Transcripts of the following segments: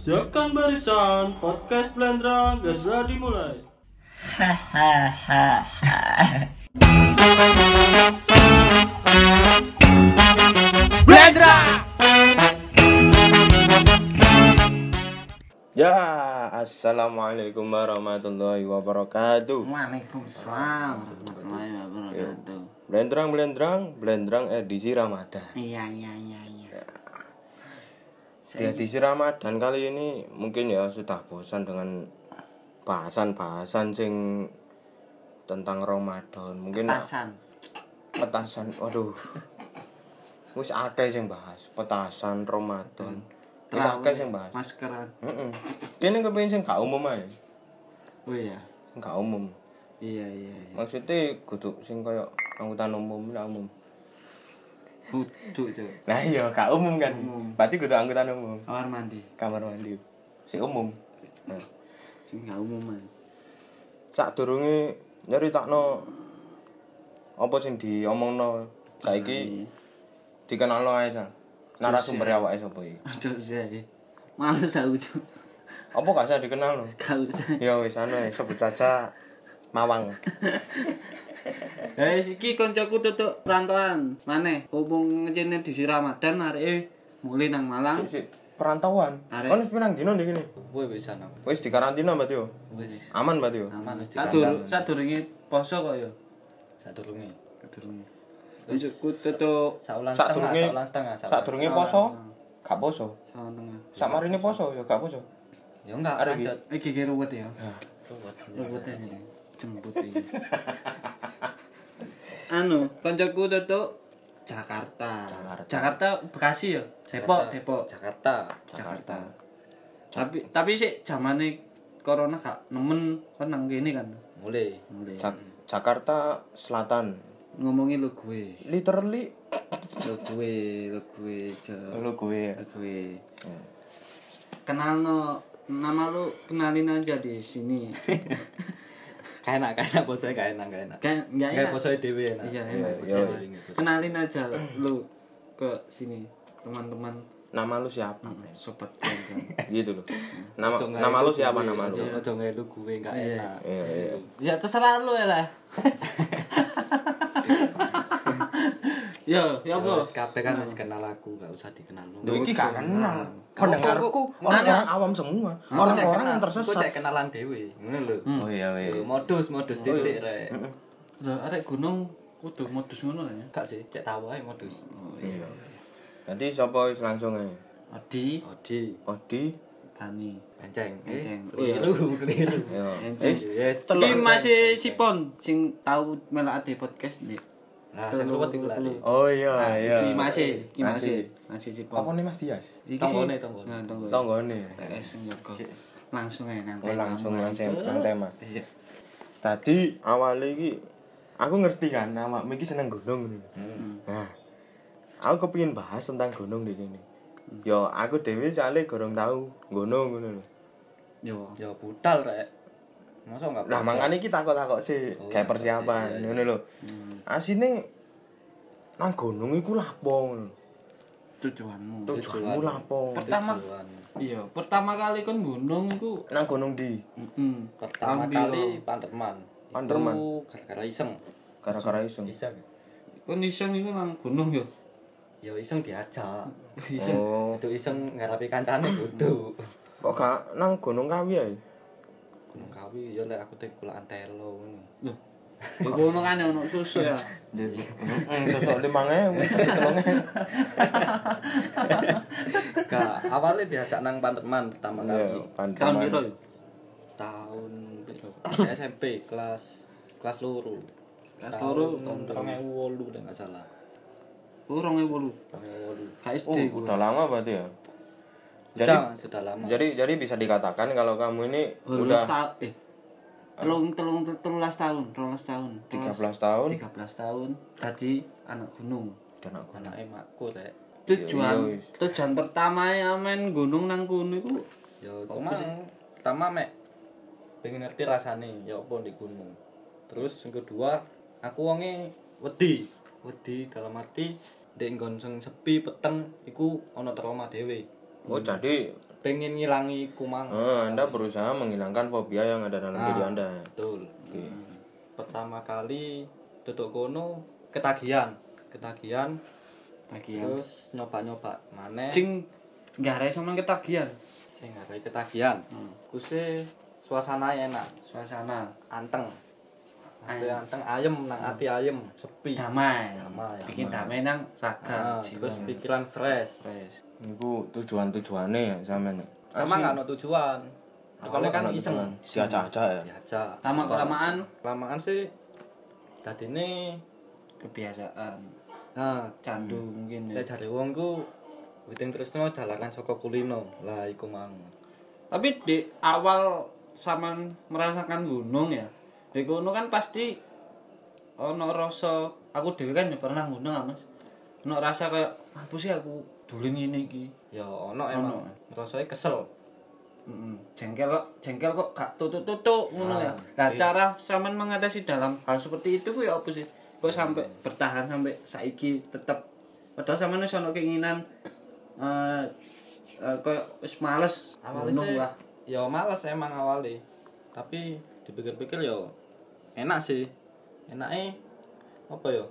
Siapkan barisan, podcast Blendrang, segera dimulai. Ya, assalamualaikum warahmatullahi wabarakatuh. Waalaikumsalam warahmatullahi wabarakatuh. Blendrang, blendrang, blendrang edisi Ramadan. Iya iya iya iya. Di edisi Ramadan kali ini mungkin ya sudah bosan dengan bahasan-bahasan sing tentang Ramadan. Mungkin Pasan. petasan. Waduh. Wis akeh sing bahas petasan Ramadan. Wis akeh sing bahas. Maskeran. Heeh. Kene kepengin sing gak umum ae. Oh iya. Sing gak umum. Iya iya. iya. Maksudnya kudu sing koyo angkutan umum lah umum. Kudu tuh. Nah iya, gak umum kan. Berarti kudu angkutan umum. Kamar mandi. Kamar mandi. Si umum. Nah, Sing gak umum ae. sak durunge nyeritakno apa sing diomongno saiki dikenalno ae sal. Narasumber awake sapa iki? Aduh saya. Males aku tuh. Apa gak usah dikenalno? Gak usah. Ya wis anu ae, sebut saja Mawang. Hei iki koncoku tutuk perantauan. Maneh Mumpung ngecene di Ramadan arek e mulai nang Malang. Sik sik perantauan. Arek. Ono pirang dino ndek kene? Woi wis ana. Wis dikarantina berarti yo. Wis Aman berarti yo. aman wis Sadur sadurunge poso kok ya. sadurunge. Sadurunge. Koncoku tutuk Saulan setengah, Sadurunge saulan setengah, saulan. sadurunge poso? Gak poso. sawan tengah. Sak marine poso ya gak poso. Ya enggak Ada lanjut. Iki kira ruwet ya. Ruwet. Ruwet ini. Jemput ini. anu, koncoku tutuk Jakarta. Jakarta. Jakarta Bekasi ya. Depok, Depok. Jakarta. Jakarta. Tapi tapi sih zamane corona gak nemen kan nang kene kan. Mulai. Mulai. Jak- Jakarta Selatan. Ngomongi lu gue. Literally Lu gue, lu gue, Jo. lu gue. lu gue. Kenal no nama lu kenalin aja di sini. Kayak enak, kayak enak posoe kayak enak, kayak enak. Kan enggak Kayak enak. posoe dhewe enak. Iya, enak. iya, Enak. Kenalin aja lu ke sini teman-teman Nama lu siapa? sobat Blendrang. gitu loh. Nama nama lu siapa nama lu? Ojo ngelu gue enggak enak. Iya iya. ya terserah lu ya lah. Yo, ya Ya, apa? Wis kabeh kan wis kenal aku, enggak usah dikenal lu. Lu iki gak kenal. Aku- Pendengarku orang-orang awam semua, orang-orang yang Gue tersesat. cek kenalan dhewe. Ngono lho. Oh iya Lho, Modus, modus Hmm. titik rek. Lah arek gunung kudu modus ngono kan ya. Enggak sih, cek tawa ae modus. Oh, iya. Nanti sapa wis langsung ae. Oh, Adi, Odi, Odi. Bani. enceng. Enceng. Eh, Keliru, keliru. Yo. Enceng. Eh, Yes. Iki masih sipon sing tau melak ade podcast nih. Nah, sing ruwet iku lali. Oh Ah, iya iya. Iki masih, iki masih, Masih. masih Apa sipon. nih Mas Dias? Iki Tanggone, sih- tanggone. Nah, tanggone. Tanggone. TS njogo. Langsung ae nang Oh tema langsung mulai. langsung nang tema. Iya. Tadi awalnya iki aku ngerti kan awakmu iki seneng gunung ngono. Hmm. Nah, aku kepengin bahas tentang gunung di sini. Yo aku dhewe soalnya gorong tahu gunung ngono lho. Yo. Ya budal rek. Masa enggak? Lah mangane iki takok-takok sih Oh, kayak takok sih, persiapan iya, Hmm. iya. ngono lho. Asine nang gunung iku lapo ngono. Tujuanmu. Tujuanmu Tujuan. lapo? Pertama iya, pertama kali kon gunung iku Nang gunung di heeh. pertama kali Panderman. Panderman. Iku Gara-gara iseng. gara-gara iseng. Iseng. Kon iseng iku nang gunung yo. Ya iseng diajak. Iseng. Oh, Itu iseng ngarepi kancane bodho. kok gak nang gunung kawi ae? Gunung Kawi ya lek aku teh kulaan telo ngono. Lho. Yo kono kan ono susu ya. Hmm, Heeh, sesuk 5000, 3000. Enggak, awalnya diajak nang Panderman pertama kali. Yo, pandeman. Tahun piro yo? Tahun SMP kelas kelas loro. Kelas loro, tahun 2008 nek enggak salah. Oh, 2008. Gak 2008. Oh, SD. udah lama berarti ya. Jadi Sudah, sudah lama. jadi jadi bisa dikatakan kalau kamu ini udah Udah tahun eh telung telung telulas tahun, 13 tahun. 13 tahun 13 tahun jadi anak gunung. dan aku anake makku rek. Iya, Tujuan wis. tujuan pertama ya main gunung nang kono iku Ya cuma pertama mek pengen ngerti rasane ya apa di gunung. Terus yang kedua, aku wonge wedi. Wedi dalam arti ndek nggon sing sepi peteng iku ana trauma dhewe. Oh, jadi pengen ngilangi kumang. Ah, anda berusaha menghilangkan fobia yang ada dalam diri Ah, Anda. ya? Betul. Hmm. Pertama kali duduk kono ketagihan, ketagihan Tagihan. terus nyoba-nyoba maneh Sing nggak ada sama ketagihan. sing ngarai ketagihan. Kuse suasana enak, Suasana anteng. Ati Ayem. anteng ayem nang ati ayem, sepi. damai. Damai. Bikin damai nang Ah, raga. jiwa. terus pikiran fresh. Niku tujuan-tujuannya ya sama nih. Sama nggak ada tujuan. Awalnya kan iseng. Si aja ya. Biasa. Lama kelamaan Lamaan sih tadi ini kebiasaan nah candu mungkin ya. Lek jare wong ku Witing Tresno dalakan saka kulino. Lah iku mang. Tapi di awal saman merasakan gunung ya. Di gunung kan pasti ono rasa aku dhewe kan ya pernah gunung ah, Mas. Ono rasa kayak "Ah, apa sih aku dulin ngene iki. Ya ono Ono. emang rasane kesel. Mm-mm. Jengkel kok, jengkel kok gak tutuk-tutuk ngono ya. Ah, Nah, iya. cara saman mengatasi dalam hal seperti itu ku ya apa sih? Kok sampai bertahan sampai saiki tetep padahal sampean wis ono keinginan eh eh, kayak wis males Awalnya gunung sih lah. ya males emang awalnya. Tapi dipikir-pikir ya enak sih. Enaknya apa ya?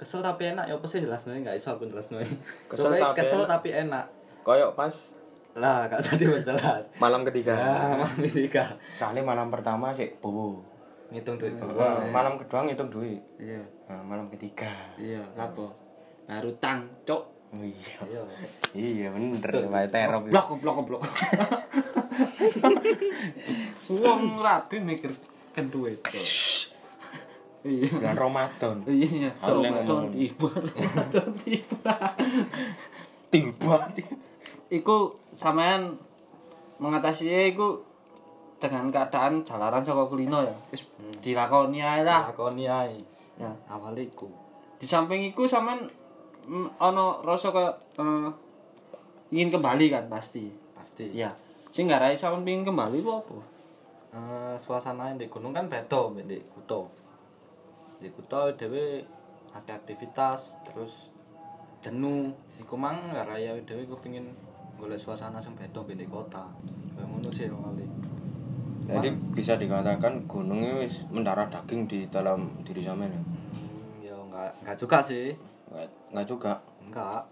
Kesel tapi enak ya apa sih jelasnya nggak iso aku jelasnya. Kesel Pokoknya tapi kesel enak. tapi enak. Koyok pas Lah gak usah diperjelas. malam ketiga. Lah mami tiga. Soalnya malam pertama sih bobo. Ngitung duit. Wah, malam kedua ngitung duit. Iya. Nah, malam ketiga. Iya, lapo? Baru tang, cok. Oh, iya. Iya Iya. bener, wae terop. Blok, blok, blok. Wong rapi mikir kedua itu. Iya. Bulan Ramadan. Iya, Aku yang Ramadan ngomong. tiba, Ramadan tiba. Tiba. Iku sampean mengatasi eh, iku dengan keadaan jalaran saka kulino ya. Wis dilakoni ae lah. Lakoni ae. Ya. Awalnya iku. Di samping iku sampean mm, ono rasa kayak eh, ingin kembali kan pasti. Pasti. Iya. Sing gak rai sampean pengin kembali ku apa? Eh, suasana di gunung kan beda mbek di kutha. Di kutha dhewe ada aktivitas terus jenuh. Iku mang raya dhewe kepengin golek suasana sing beda mbek di kota. Kayak ngono sih awale. Jadi bisa dikatakan gunung ini wis mendarah daging di dalam diri sampean ya. Hmm, ya enggak enggak juga sih. Nggak, nggak juga. Enggak.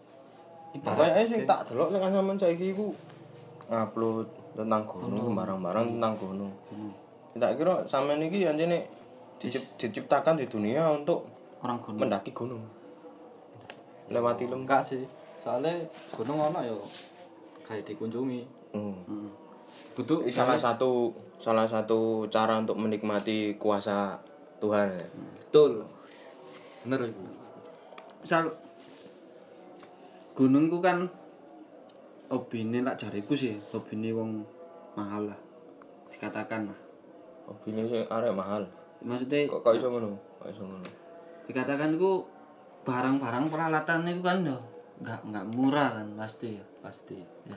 Ibarat Kayaknya sing tak delok nek sampean saiki iku upload tentang gunung sembarang-barang tentang gunung. Tak kira sampean iki anjene dicip- diciptakan di dunia untuk Orang gunung. mendaki gunung. Lewati lembah. enggak sih. Soalnya gunung ono ya kayak dikunjungi. Hmm. Kudu Salah satu salah satu cara untuk menikmati kuasa Tuhan. ya. Hmm. Betul. Bener iku. misal gunungku kan hobine lak jariku sih, hobine wong mahal lah. Dikatakan lah. Mobilnya sih arek mahal. Maksudnya Kok kok iso ngono? Kok iso ngono? dikatakan ku barang-barang peralatan itu kan yo nggak nggak murah kan pasti ya. Pasti. ya.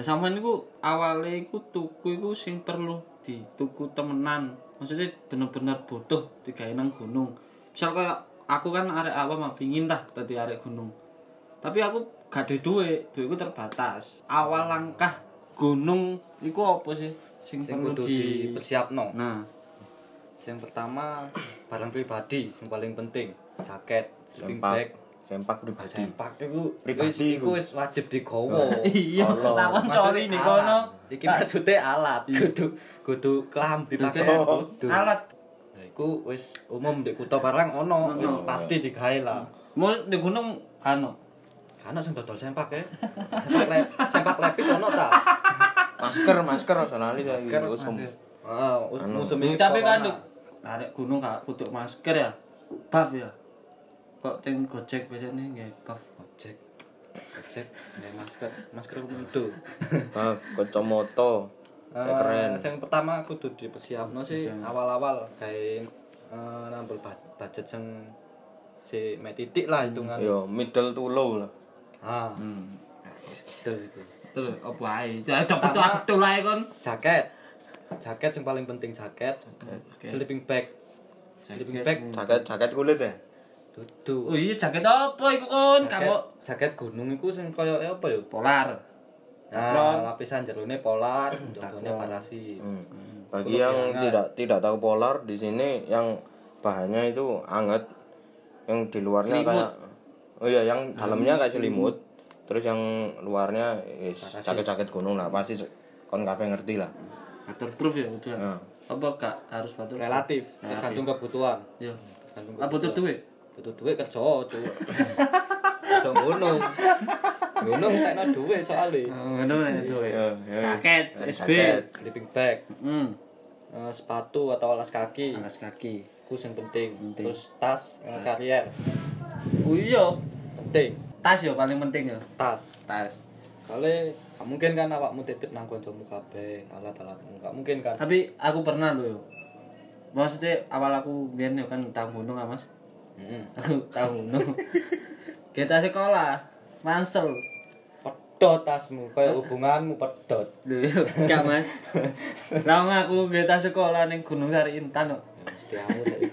Nah sama niku awalnya iku tuku iku sing perlu di tuku temenan. Maksudnya bener-bener butuh digawe nang gunung. Misal kayak aku kan arek awam mah pingin tah dadi arek gunung. Tapi aku gak duwe duit, duitku terbatas. Hmm. Awal langkah gunung iku apa sih sing, Sing perlu kudu di dipersiapno. Nah, Yang pertama barang pribadi yang paling penting jaket, sleeping bag, Sempak. Sempak pribadi. sempak itu Pribadi wis- iku wis wajib digowo. iya, Allah. lawan cori nih kono. Iki maksude alat. Kudu kudu klambi pakaian Oh. kudu. Alat Nah, iku wis umum di kutha barang ono wis pasti digawe lah. Hmm. mau di gunung kano. Ana sing dodol sempak ya. Sempak le sempak lepis ono ta? Masker, masker aja lali saiki. Masker, Wes, masker. Ah, us- musim Duh, ini tapi corona. kan Duk, arek gunung gak kutuk masker ya. Buff ya. Kok tim Gojek biasanya nggih buff. Ojek. Ojek, ya, masker, masker itu. Bak, kacamata. Kayak Eh, keren. Yang pertama kudu dipersiapno sih awal-awal kayak eh, nambel bud- budget sing si metitik lah hitungan. Yo, middle to low lah. Ah. Betul itu. Terus opo ae? Jadi dapat tuh aku tuh ae kon. Jaket. Jaket yang paling penting jaket. Sleeping bag. Sleeping bag Jaket jaket kulit ya. Oh dudu. iya jaket apa iku kon? Kamu Jaket, jaket gunung itu sing koyo apa ya? polar. Nah, lapisan jerone polar, contohnya parasi. Hmm. Bagi yang Nah. tidak tidak tahu polar di sini yang bahannya itu anget, yang di luarnya kayak oh iya yang Hmm, dalamnya kayak selimut, terus yang luarnya is jaket-jaket gunung lah pasti se- kon kabeh ngerti lah. Waterproof ya udah. Heeh. Apa gak harus waterproof? Relatif, tergantung kebutuhan. Ya. Tergantung Apa Ah, butuh duit? Butuh duit kerja, cuk. Kerja ngono. Ngono ngetekno duit soalnya. Eh, Ngono ya duit. Iya, iya. Jaket, SB. Jaket. Sleeping bag, Hmm. eh, sepatu atau alas kaki, Alas kaki. itu yang penting. Terus tas, eh, karier, Oh iya. penting. Tas ya paling penting ya. Tas. Tas. Soalnya gak mungkin kan awakmu titip nang koncomu kabeh alat-alatmu. Gak mungkin kan. Tapi aku pernah loh. yo. Maksudnya awal aku biar yo kan tahu gunung ah, Mas. Heeh. Aku tahu gunung. Kita sekolah, Mansel. Pedot tasmu, kayak hubunganmu pedot. Lho, yo, gak Mas. Lah aku kita sekolah ning Gunung Sari Intan kok. Ya, Mesti kamu tadi.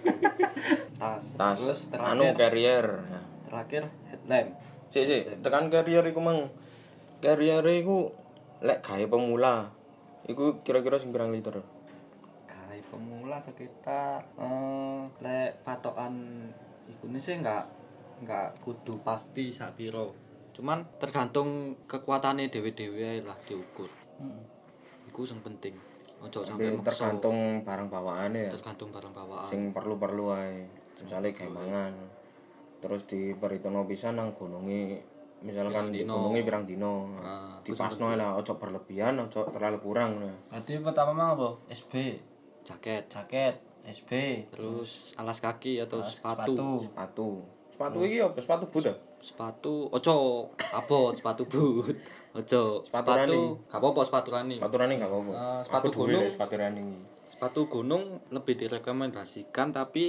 Tas. Tas, Terus anu terakhir, carrier. Ya. terakhir headlamp. Sik sik, tekan carrier iku mang. Carrier iku lek gawe pemula. Iku kira-kira sing pirang liter? Kai pemula sekitar eh lek patokan ikune sih nggak nggak kudu pasti sapiro. Cuman tergantung kekuatannya dewe-dewe ae lah diukur. Hmm. Iku yang penting. Ojo sampai Tapi maksa. tergantung barang bawaannya ya. tergantung barang bawaan. sing perlu-perlu ae. Misale gawe mangan. Terus diperhitungno pisan nang gununge misalkan di gununge pirang dino. Ah, Dipasno ae lah ojo berlebihan, ojo terlalu kurang. nah. Berarti pertama mah apa? SB, Jaket, jaket, SB, terus alas kaki atau sepatu. sepatu. Sepatu. Sepatu iki apa? Sepatu boot ah? sepatu ojo abot sepatu boot ojo Sepatu sepatu running. gak apa-apa sepatu running Sepatu running gak apa-apa. Ah, sepatu Aku duwe gunung. lek sepatu running iki. sepatu gunung lebih direkomendasikan tapi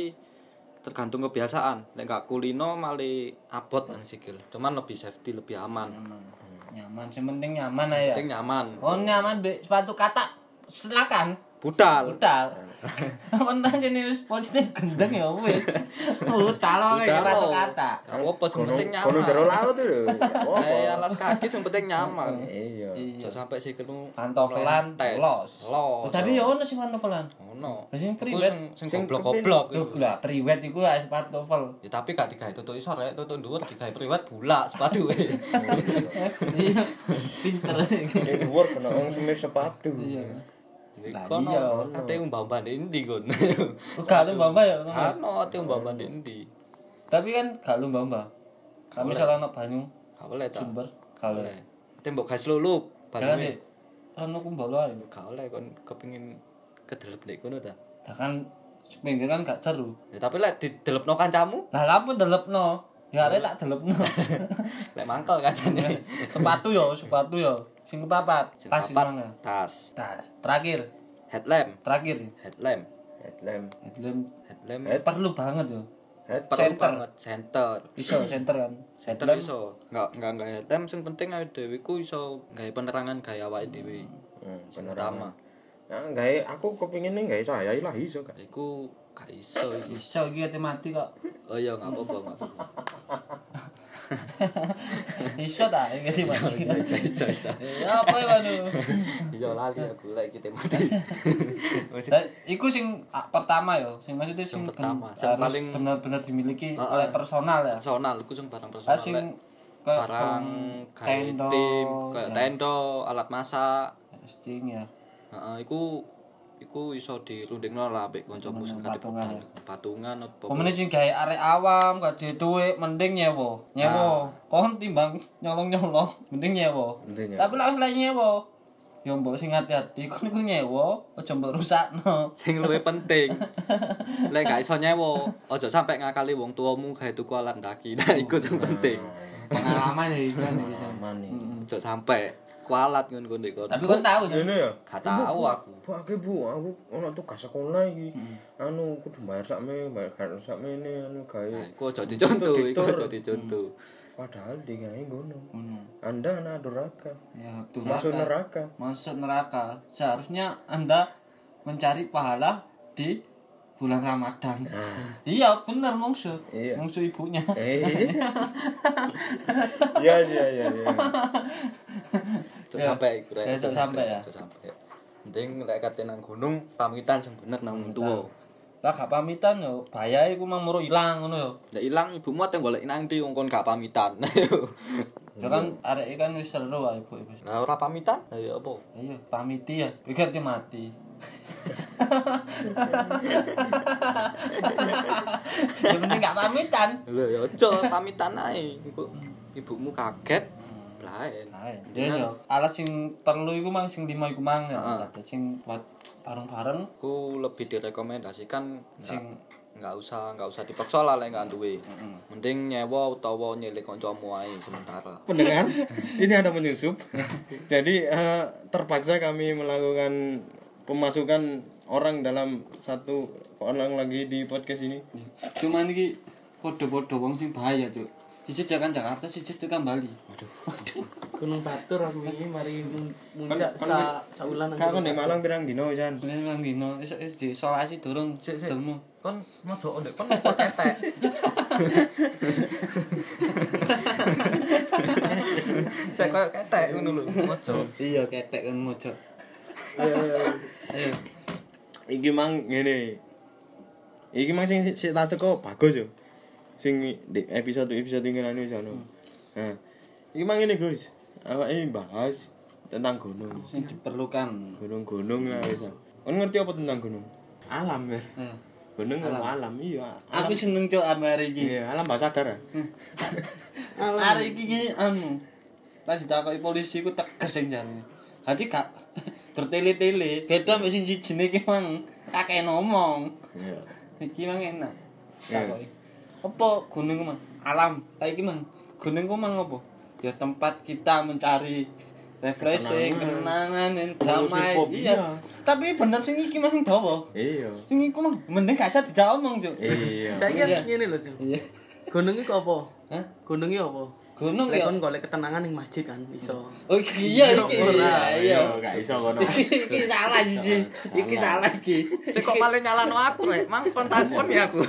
tergantung kebiasaan nek gak kulino malah abot kan sikil cuman lebih safety lebih aman Nyaman, sing penting nyaman aja. penting nyaman Oh nyaman be sepatu kata silakan budal budal. Kon nang jene wis positif gendeng ya wis. Budal kok ya Budal, sepatu lo. kata. gak apa-apa yang penting Kono nyaman jero laut lho. Apa? Eh, alas kaki yang penting nyaman Iya. ojo sampai sikilmu Pantofelan Tes. los. Los. Oh, tapi ya ono sing pantofelan. ono Lah, sing Iku priwet. sing- sing goblok-goblok Lho lah priwet iku ya sepatu pel. Ya tapi gak digawe tutuk isor rek, tutuk dhuwur digawe priwet bulak sepatu e. Iya. Pinter. Kayak work kena wong semir sepatu. Iya. Lah Kono iya. ate umbah-umbah ndek endi kon. Ku gak lomba ya. Kono ate umbah-umbah ndek endi. Tapi kan gak lomba-lomba. Kami salah anak banyu Gak boleh ta. sumber kalau. Boleh. Ate mbok gas lulup Jangan bareng. deh. Anu kumbala ya. Gak oleh kon kepengin kedelep ndek kono ta. Lah kan pinggir kan gak seru. Ya tapi lek didelepno kancamu, Lah lapo delebno? Ya arek tak delebno. lek mangkel kancane. sepatu yo, sepatu yo. Sing kepapat, tas sing Papat mana? tas, Tas. Terakhir, headlamp, terakhir. headlamp, Headlamp. Headlamp headlamp perlu banget yo. Head perlu banget center. Iso center kan. Center iso, nggak nggak nggak headlamp sing penting awake dhewe ku iso gawe penerangan gawe awake dhewe. Hmm, Sing utama. Nah, gawe aku kepingin nih gawe cahaya lah iso gak. Iku gak iso iki. Iso iki ate mati kok. Oh iya nggak apa-apa, nggak apa-apa. Iso ta iki ate mati. Iso iso iso. Ya apa ya anu. Iya lali aku lek kita mati. Mesti Lah, Iku sing ah, pertama yo, sing maksudnya sing ben- pertama, sing harus paling- benar-benar dimiliki Heeh. oleh personal ya. personal, iku sing barang Lah personal. sing lek. kayak barang kayak tenda, tim, kayak ya. tenda, alat masak. Sting ya. Heeh, iku iku iso dirundingno lah ambek kancamu sing kadek Hmm, Patungan, patungan apa. Pemene sing gawe arek awam gak duwe duit mending nyewa. Nyewa. Kon timbang nyolong-nyolong mending nyewa. Mending nyewa. Tapi lek wis lek nyewa ya mbok sing hati-hati kon iku nyewa aja mbok rusakno. sing luwih penting lek gak iso nyewa aja sampe ngakali wong tuamu gawe tuku alat ndaki nah iku sing penting Pengalaman ya iki kan. Aman nih. aja sampe kualat ngono ndek kono Tapi kon tau Jon. Ini ya. gak tau aku Bu, aku bu, aku ono tugas sekolah iki. Anu kudu bayar sakme, bayar gak sakmene anu gawe. nah iku aja dicontoh iku Ditur. aja dicontoh Padahal digawe Mm. ngono. Ngono. Anda anak duraka. Hmm, Ya tuh Masuk neraka. neraka. Masuk neraka. Seharusnya Anda mencari pahala di bulan Ramadan. iya, bener mungsu. Ah. Iya. Mungsu ibunya. Eh. Iya iya iya iya. Cuk sampai iku Ya, cuk sampai ya. Cuk sampai. Penting lek kate nang gunung pamitan sing bener nang wong tuwa. Lah gak pamitan yo, bayae iku mang muru ilang ngono yo. Lek ilang ibumu ate golek nang ndi wong kon gak pamitan. Ya kan Iya. arek kan wis seru wae ibu wis. Nah ora pamitan, lah ya apa? Ayo pamiti ya, pikir dia mati. Yang penting gak pamitan. Lho ya aja pamitan ae. Iku ibumu kaget. Blaen. Iya. Ya yo, alat sing perlu iku mang sing lima iku mang ya. Ah. Heeh. Ada sing buat bareng-bareng Aku lebih direkomendasikan sing sing nggak usah nggak usah dipaksa lah lek nggak duwe. Mending nyewa utawa nyelik kancamu ae sementara. Pendengar, ini ada penyusup. Jadi eh, terpaksa kami melakukan pemasukan orang dalam satu orang lagi di podcast ini. cuman iki podo-podo wong sing bahaya, Cuk. Siji tekan Jakarta, siji tekan Bali. Gunung Batur aku ini mari mun- muncak sa saulan Kak kon di Malang pirang dino Jan? Ini nang dino esuk wis diisolasi durung Sik, sik. durmu. kon mau doon dek kon mau kok ketek Cek koyo ketek ngono lho. Ojo. Iya ketek kan mojo. Ayo. Iki mang ngene. Iki mang sing sik tak teko bagus yo. Sing di episode episode ngene sono. Nah. Iki mang ngene Gus. Awake bahas tentang gunung. Sing diperlukan. Gunung-gunung lah wis. Kon ngerti apa tentang gunung? Alam ya. Nah, Gunung alam, alam iya. Alam, aku seneng Cuk amare iki. iya, alam bahasa sadar. ya? Hari iki ki anu. Lah ditakoki polisi ku tegas sing jane. Hati gak bertele-tele, beda mek sing sijine ki mang akeh ngomong. Iya. Iki mang enak. Takoki. Apa gunung ku, mang? Alam. Lah iki mang gunung ku mang apa? Ya tempat kita mencari refreshing, kenangan, dan damai. Fosfofobia. Iya. Tapi bener sing iki mang sing dawa. Iya. Sing iku mang mending gak usah dijak omong, Cuk. Iya. saya Iya. kira ngene lho Cuk. Iya. gunung iki apa Hah? gunung iki apa Gunung lek ya. kon golek ketenangan ning masjid kan iso Oh iya iki. Iya, Ora, Iya, iya. gak iso kono. iki salah sih iki salah iki Sik kok malah nyalano aku rek. Mang kon takon ya aku.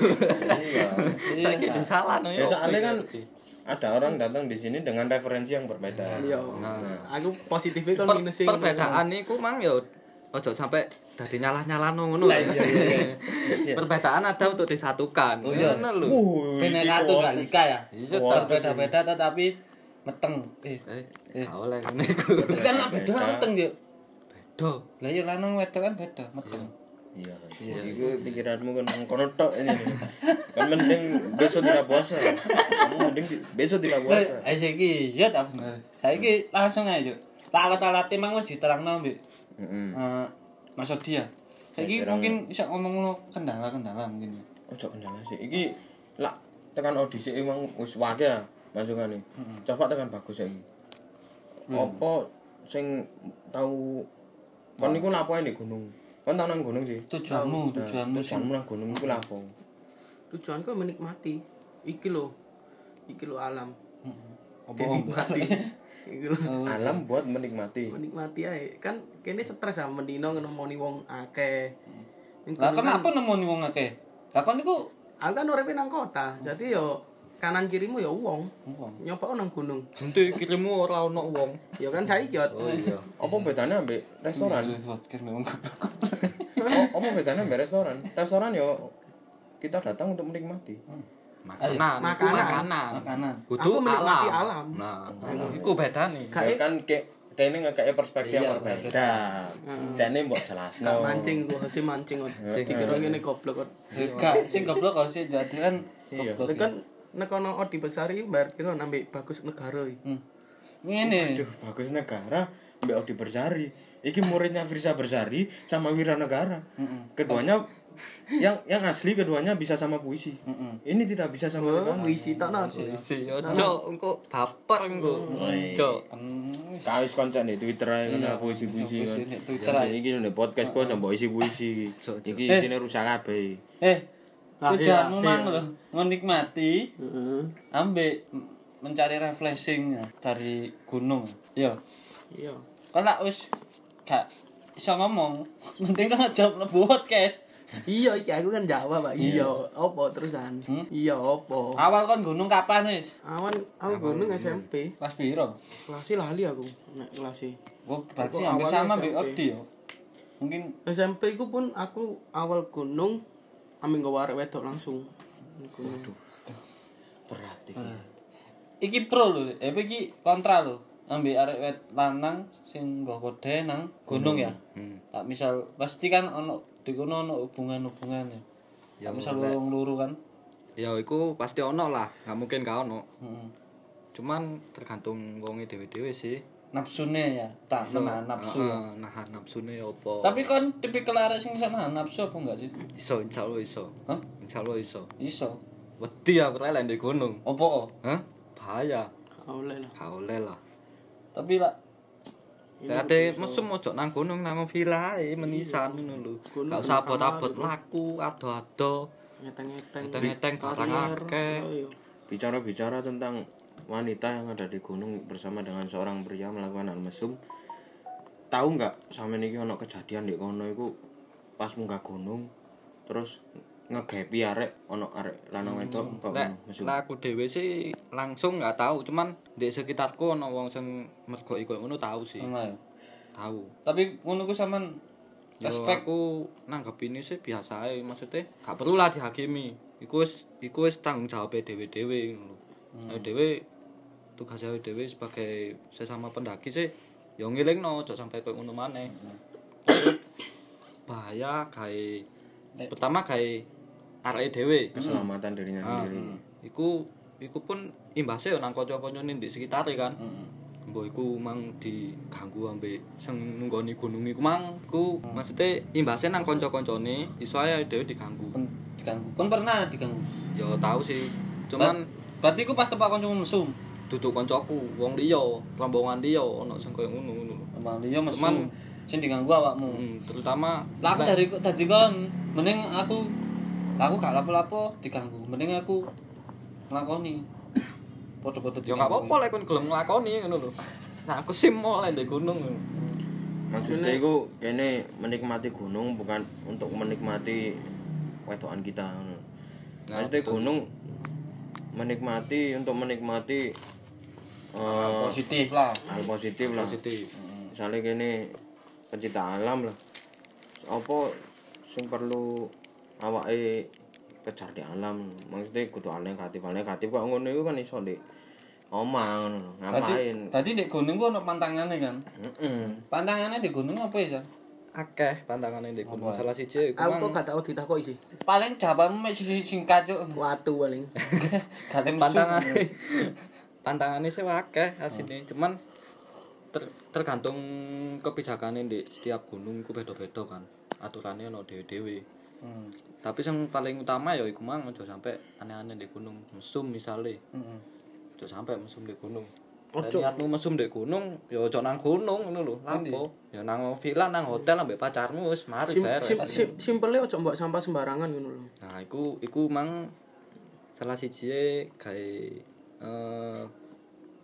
Iya. Saiki disalano Ya yo. soalnya kan ada orang datang di sini dengan referensi yang berbeda. iya aku positifnya per kon minus perbedaan niku mang yo ojo sampai dadi nyalah-nyalano ngono. Lah, iya, iya, Perbedaan ada untuk disatukan. Oh, iya. Ngono lho. Uh. Wuh, iki Bineka kok- Tunggalika ya Iya, Waduh. beda-beda tetapi meteng eh Eh, Eh. gak oleh ngene iku. kan lah beda lah Beda. meteng yo Do. lah yo lanang wedok kan beda meteng Iya. Iku pikiranmu kan nang kono tok ini. Kan mending besok tidak puasa. Kamu mending di- besok tidak lah puasa. ayo saiki iya ta bener saiki langsung aja Cuk. Lah, alat-alat emang wis diterangno mbek Heeh. eh, Mas Odi ya saiki Diterangno. mungkin bisa ngomong lo kendala-kendala mungkin ya. Ojo kendala sih. Iki lak tekan audisi emang wis wae ya masukane. Coba tekan bagus ya. Apa sing tau kon niku lapo ning gunung? Kon tau nang gunung sih. tujuanmu tujuanmu Terus sih kamu nang gunung iku lapo? tujuanku menikmati iki lho iki lho alam apa-apa iki lho Alam buat menikmati. menikmati ae kan kene stres ya mendino ngemoni wong akeh Ning lah gunung kan- kenapa nemu wong akeh lah kon niku aku kan uripe nang kota jadi yo kanan kirimu yo wong nyoba nang gunung Jentu kirimu ora ono wong. ya kan saiki yo Oh iya. Apa bedanya ambek restoran? podcast memang O- Apa bedanya ambek restoran? Restoran yo kita datang untuk menikmati. Makanan, Ayo. iku makanan. Makanan. makanan Kudu Aku menikmati alam. alam. Nah, iku bedane. Gak- Ya kan kayak kene ngekeke perspektif yang berbeda. Jane mbok jelasno. gak mancing gua hasil mancing kok dikira ngene goblok kok Enggak, sing goblok kok sih jadi kan Iya. goblok. Lha kan nek ono odi besar iki mbayar kira nambah bagus negara iki Hmm. Ngene. Aduh, bagus negara Mbak Odi Bersari. Iki muridnya Firsa Bersari sama Wira Negara. Keduanya yang yang asli keduanya bisa sama puisi. Ini tidak bisa sama oh sekali. isi tak nah Isi ojo engko baper engko. Oh, Ojo. Hmm, Kawis konten di Twitter ae kena puisi-puisi. Iya. puisi kan. di Twitter ae. Ya, Iki nih podcast kok nambah isi-puisi. Cuk, cuk. Iki isine rusak kabeh. Eh, tujuanmu mang lho, menikmati ambek m- mencari refreshing dari gunung. Yo, iya kalau wis gak iso ngomong, mending kan aja mlebu podcast. Iya iki aku kan jawab, Pak. Iya, opo terusan? Hmm? Iya, opo? Awal kon gunung kapan wis? Awan aku gunung SMP. Kelas piro? Kelas e lali aku, nek kelas e. Gua berarti Aku hampir awalnya sama mbek SMP. Odi yo. Mungkin SMP ku pun aku awal gunung ambil nggawa arek wedok langsung. Gunung. berat iki. iki pro lho, eh apa iki kontra lho. Ambek arek wet lanang sing nggo kode nang gunung ya. Tak misal pasti kan ono di kono ono hubungan-hubungan ya. Ya, Tak misal luru-luru kan. ya iku pasti ono lah nggak mungkin gak ono Heeh. cuman tergantung wonge dewe-dewe sih Nafsune ya, tak menahan nafsu. Heeh, nahan nafsune opo Tapi kon tipikal arek sing bisa nahan nafsu apa enggak sih? iso insyaallah iso Hah? insyaallah iso Iso. wedi aku rela ndek gunung Opo? hah bahaya Gak Oleh lah. gak oleh lah Tapi lah Ade mesum ojo nang gunung nang villa ae menisan ngono lho. Gunung Gak usah abot-abot laku ado-ado. Ngeteng-ngeteng. Ngeteng-ngeteng barang Karir. akeh. Iya, iya. Bicara-bicara tentang wanita yang ada di gunung bersama dengan seorang pria melakukan hal mesum. Tahu nggak sampe niki ono kejadian di kono iku pas munggah gunung terus ngegepi arek ono arek lanang wedok kok Hmm. Lek mesum. lek aku dhewe sih langsung gak tahu, cuman di sekitarku ono wong sing mergo iku ngono tahu sih. ngono ya. Tahu. Tapi ngono ku sampean Respect respect ku nanggep ini sih biasa ae, maksudnya gak perlu lah dihakimi. Iku wis iku wis tanggung jawabe dhewe-dhewe ngono lho. Ayo dhewe tugas ae dhewe sebagai sesama pendaki sih ya ngelingno ojo sampai koyo ngono maneh. Bahaya gawe pertama gawe arek dhewe keselamatan dirinya Ah. sendiri. Hmm. Hmm. iku iku pun imbasnya yo nang kanca-kancane di sekitar kan Hmm. mbok iku mang diganggu ambe sing nunggoni gunung iku mang iku maksudnya imbasnya nang kanca-kancane iso ae dhewe diganggu pen- diganggu. Kon pernah diganggu. yo tau sih cuman Berarti ku pas tepak kanca mesum. duduk kancaku wong liya rombongan liya ono sing koyo ngono ngono lho. Emang dia mesum. Cuman- Sing diganggu awakmu. Hmm, terutama Lah aku lek- dari tadi kon mending aku lah aku gak lapo-lapo diganggu. Mending aku nglakoni. Padha-padha yo gak apa-apa lek kon gelem nglakoni ngono lho nah aku sih mau lek ndek gunung ngono. Maksudnya iku kene menikmati gunung bukan untuk menikmati wedokan kita ngono. Nah, Maksudnya betul. gunung menikmati untuk menikmati eh, Positif lah. hal positif lah. Jadi, Misalnya kene pencinta alam lah. Apa sing perlu awake kejar di alam. Maksudnya kudu hal negatif, hal negatif kok ngono iku kan iso di omah ngono. Ngapain? Berarti berarti di gunung ku ono pantangane kan. Heeh. Pantangane di gunung apa ya? San? akeh pantangane ndek gunung salah siji ya iku Aku kok mang gak tau ditakoki sih. Paling jawabanmu mek sisi singkat cuk. Watu paling. Kate mesum. pantangane pantangane sih akeh asine cuman ter- tergantung kebijakane di setiap gunung iku beda-beda kan aturannya ono dhewe-dhewe Hmm. tapi yang paling utama ya iku mang aja sampe aneh-aneh di gunung mesum misale Heeh. aja sampe mesum di gunung Ojo niatmu mesum di gunung, ya ojo nang gunung ngono lho. Lapo? Ya nang villa, nang hotel ambek pacarmu wis mari Sim, beres. sim, sim, simpelnya ojo mbok sampah sembarangan ngono lho. Nah, iku iku mang salah siji gawe eh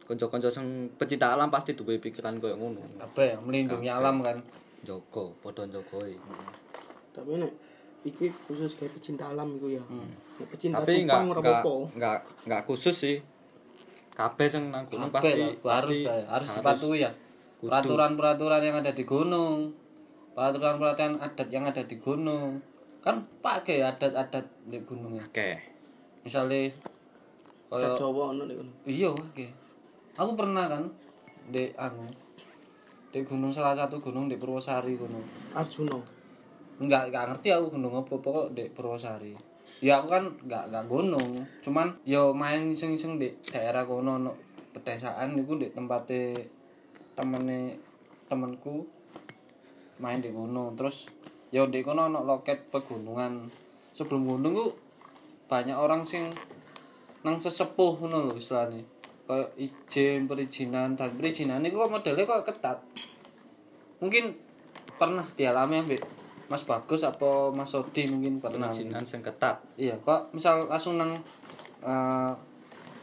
kanca-kanca sing pecinta alam pasti duwe pikiran koyo ngono. Apa ya melindungi alam kan. Jaga, padha e. njagae. Tapi nek iki khusus kayak pecinta alam iku ya. Nek pecinta Tapi enggak cupang ora enggak apa-apa. enggak enggak khusus sih. Kabeh sing nang gunung Apa ya, harus pasti pasti ya, harus dipatuhi ya. Peraturan-peraturan yang ada di gunung. Peraturan-peraturan adat yang ada di gunung. Kan pakai adat-adat di gunung ya. Oke. Misalnya Tak kayak Jawa ono nek ngono. iya oke. Aku pernah kan di anu di gunung salah satu gunung di Purwosari gunung. Arjuna. Enggak enggak ngerti aku gunung apa pokok di Purwosari. Ya aku kan enggak enggak gunung, cuman yo main sing-sing di daerah kono no pedesaan itu di tempatnya temene temanku main di gunung terus ya di kono ono loket pegunungan sebelum gunung ku banyak orang sing nang sesepuh ngono lho istilahnya kayak izin perizinan dan perizinan itu modelnya kok ketat mungkin pernah dialami ambek Mas Bagus apa Mas Sodi mungkin pernah Perizinan sing ketat. iya kok misal langsung nang eh,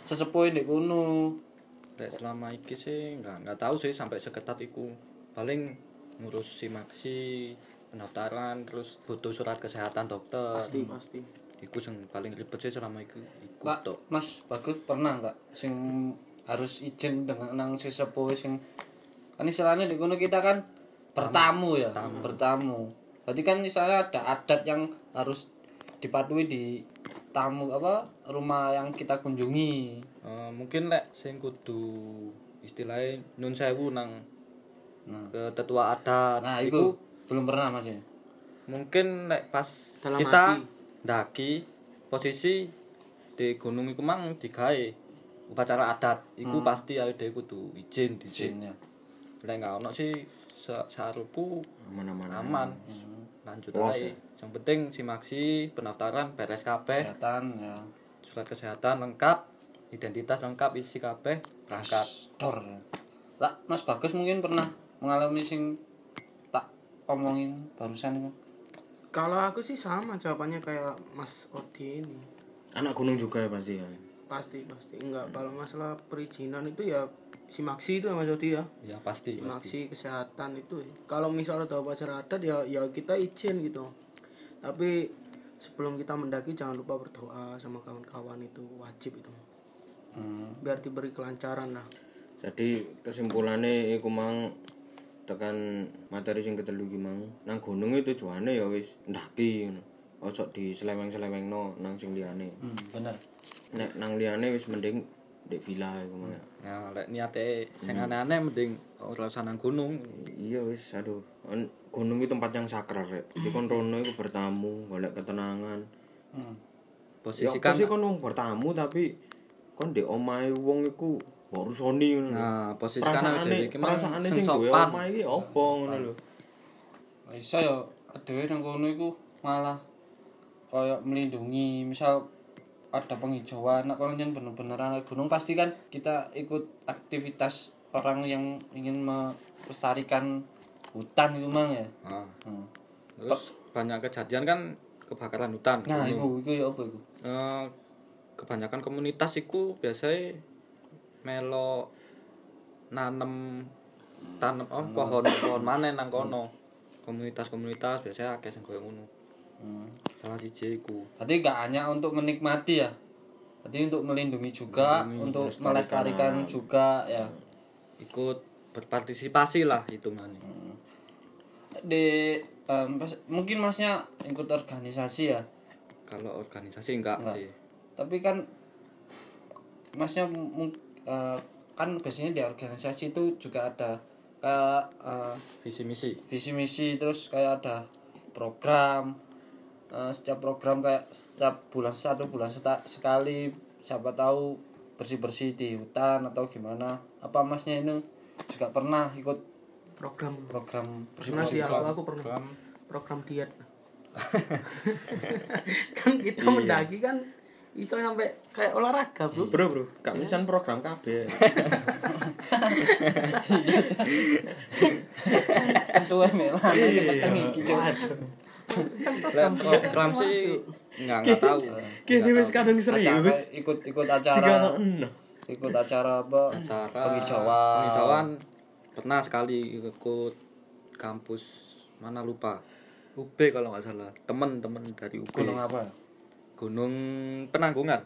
sesepuh di kono Lek selama iki sih enggak enggak tahu sih sampai seketat iku. Paling ngurus si Maxi pendaftaran terus butuh surat kesehatan dokter pasti pasti iku sing paling ribet sih selama iku iku Kak, tok Mas Bagus pernah nggak sing harus izin dengan nang sesepuh sing kan istilahnya di kono kita kan bertamu ya, bertamu. Berarti kan istilahnya ada adat yang harus dipatuhi di tamu apa rumah yang kita kunjungi. Eh, mungkin lek sing kudu istilahnya nun sewu nang ke tetua adat Nah, itu, iku belum pernah Mas ya. mungkin lek pas Dalam kita hati. ndaki posisi di gunung iku mang digawe upacara adat iku pasti ayo dhewe kudu izin izin Izinnya. lek nggak ono sih se saruku aman-aman aman lanjut aja yang penting si maksi pendaftaran beres kabeh Kesehatan ya. surat kesehatan lengkap identitas lengkap isi kabeh berangkat Dor. ya. Lah, Mas Bagus mungkin pernah mengalami sing tak omongin barusan itu. kalau aku sih sama jawabannya kayak Mas Odi ini anak gunung juga ya pasti ya pasti pasti enggak kalau masalah perizinan itu ya si Maxi itu ya Mas Odi ya ya pasti Si pasti Maxi kesehatan itu ya. kalau misalnya ada upacara adat ya ya kita izin gitu tapi sebelum kita mendaki jangan lupa berdoa sama kawan-kawan itu wajib itu Hmm. biar diberi kelancaran lah jadi kesimpulannya iku mang tekan materi sing ketelu ki mang nang gunung itu tujuane ya wis ndaki ngono ojo diseleweng-selewengno nang sing liyane Hmm, bener. nek nang liyane wis mending ndek villa e iku mang nah lek niate sing Hmm. aneh-aneh mending ora usah nang gunung iya wis aduh On- gunung itu tempat yang sakral rek di kon Hmm. rono iku bertamu golek ketenangan Hmm. ya posisi kan pasti kon wong bertamu tapi kon ndek omahe wong iku baru soni ngono nah posisi kan awake dhewe perasaane iki mang perasaane sing sing duwe sopan omah iki opo ngono lho Lah iso ya dhewe nang kono iku malah kaya melindungi misal ada penghijauan nek kono yen bener-bener anak gunung pasti kan kita ikut aktivitas orang yang ingin melestarikan hutan itu mang ya. Nah, Hmm. terus banyak kejadian kan kebakaran hutan Nah, gunung. iku iku ya apa iku? Eh, kebanyakan komunitas iku biasanya melo nanem tanem oh, pohon pohon mana nang kono komunitas-komunitas biasanya akeh sing koyo ngono Hmm. salah siji iku Berarti gak hanya untuk menikmati ya. Berarti untuk melindungi juga, untuk melestarikan juga ya. ikut berpartisipasi lah hitungannya Di em, pas- mungkin masnya ikut organisasi ya. kalau organisasi enggak, Enggak. sih tapi kan masnya mu- eh, kan biasanya di organisasi itu juga ada kayak eh, visi misi visi misi terus kayak ada program Eh, setiap program kayak setiap bulan satu bulan seta- sekali siapa tahu bersih bersih di hutan atau gimana apa masnya ini juga pernah ikut program program bersih pernah sih aku aku pernah program diet kan kita Iya. mendaki kan iso sampai kayak olahraga Hmm. bro bro bro gak misan program kabeh itu melane sepeting iki Cuk. Lah, program sih enggak enggak tahu kene wis kadang acara serius ikut ikut acara Tiga enam. ikut acara apa acara penghijauan penghijauan pernah sekali ikut kampus mana lupa UB kalau nggak salah teman-teman dari UB gunung apa ya? Gunung Penanggungan